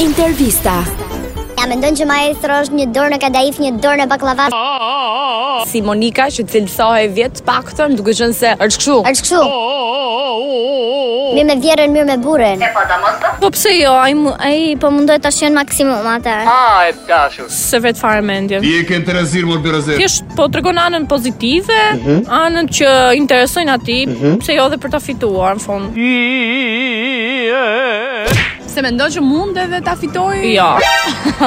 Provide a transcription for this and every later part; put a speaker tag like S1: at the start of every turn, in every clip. S1: Intervista.
S2: Ja mendon që ma e throsh një dorë në kadaif, një dorë në baklava.
S3: si Monika që cilësohej vjet paktën, duke qenë se është kështu.
S2: Është kështu. Mirë me vjerën, mirë me burën.
S4: Po pse jo, ai mu- ai po mundohet ta shën maksimum atë.
S5: Ah, e dashur.
S3: se vet fare mendjen.
S6: Je ke të rezir, mor bërëzir.
S3: Thjesht po tregon anën pozitive, anën që interesojnë atij, pse jo edhe për ta fituar në fund.
S7: Se mendon që mund edhe ta fitoj?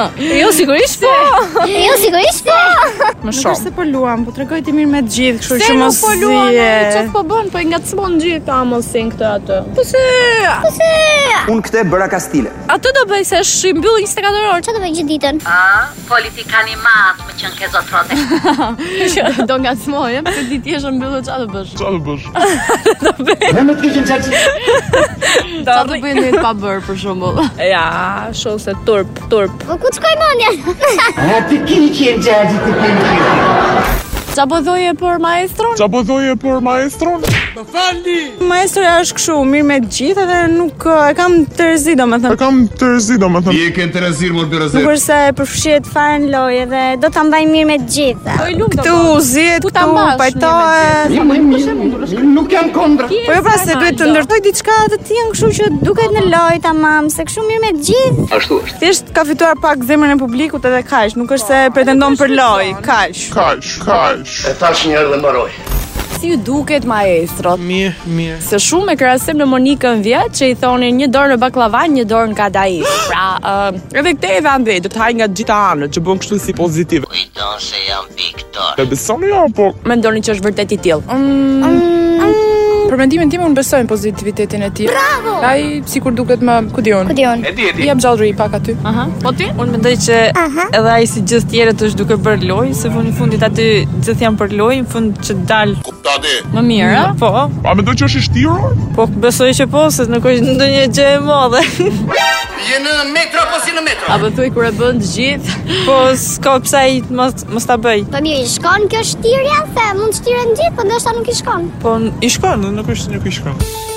S3: Jo. jo sigurisht po.
S2: Jo, sigurisht po.
S4: Ah.
S3: Më
S8: Nuk
S3: shumë.
S8: është se po luam, po tregoj ti mirë me të gjithë, kështu
S7: Se
S8: që
S7: nuk
S8: mos
S7: po luan
S8: zije.
S7: ai, që po bën, po i ngacmon gjithë amosin këtë atë.
S3: Po se
S9: Unë këte bëra kastile.
S3: atë do bëj se është i mbyll 24 orë.
S2: Çfarë do bëj gjithë ditën?
S5: Ah, politikani matë më qënë ke zotë rote.
S7: Do ngacmoj, e, pse ditë tjetër mbyllë çfarë do bësh? Çfarë do bëj në jetë pa bër për shembull?
S3: Ja, shoh se turp, turp.
S2: Po ku të shkoj mendja?
S7: Çfarë po thoje për maestron?
S8: Maestroja është kështu, mirë me të gjithë, edhe nuk uh, e kam të rezi, domethënë.
S6: Je ke të rezir, mor
S8: Nuk
S6: bërëzir.
S8: është se e përfshihet fare në lojë dhe do ta mbaj mirë me të gjithë.
S7: Po i lum do.
S8: Këtu zihet,
S7: Ku ta
S8: këtu
S7: mbash
S8: pajtohet.
S9: Nuk jam kondra.
S8: Po jo pra se duhet të ndërtoj diçka të tillë, kështu që duket në lojë tamam, se kështu mirë me të gjithë.
S9: Ashtu është.
S8: Thjesht ka fituar pak zemrën e publikut edhe kaq, nuk është se pretendon për lojë, kaq.
S9: E tash një herë dhe mbaroj.
S3: Si ju duket maestro?
S10: Mirë, mirë.
S3: Se shumë e krahasim në Monikën vjet që i thonin një dorë në baklavan, një dorë në kadai. Pra, ë,
S10: Edhe këtë e vendej, do të haj nga gjitha anët, që bën kështu si pozitiv.
S5: Kujto se jam Viktor.
S10: E besoni jo, po
S3: mendoni që është vërtet i tillë.
S4: Për mendimin tim unë besoj në pozitivitetin e tij. Bravo. Ai sikur duket më, ku diun.
S2: Ku diun?
S9: E di, e di.
S4: Jep gjallëri pak aty.
S3: Aha. Po ti? Unë mendoj që edhe ai si gjithë tjerët është duke bërë lojë, se fundi fundit aty gjithë janë për lojë, në fund që dal
S6: Kuptati.
S3: më mirë, a? Po,
S10: a mendoj që është i shtirur?
S3: po besoj që po, se nuk është ndonjë gjë e madhe.
S9: Je në metro apo si në metro?
S7: Apo thuj kur e bën të gjithë?
S3: po s'ka pse ai mos mos ta bëj.
S2: Po mirë, i shkon kjo shtirja, se mund shtiren gjithë, po ndoshta nuk i shkon.
S3: Po
S10: I shkon, nuk është nuk i shkon.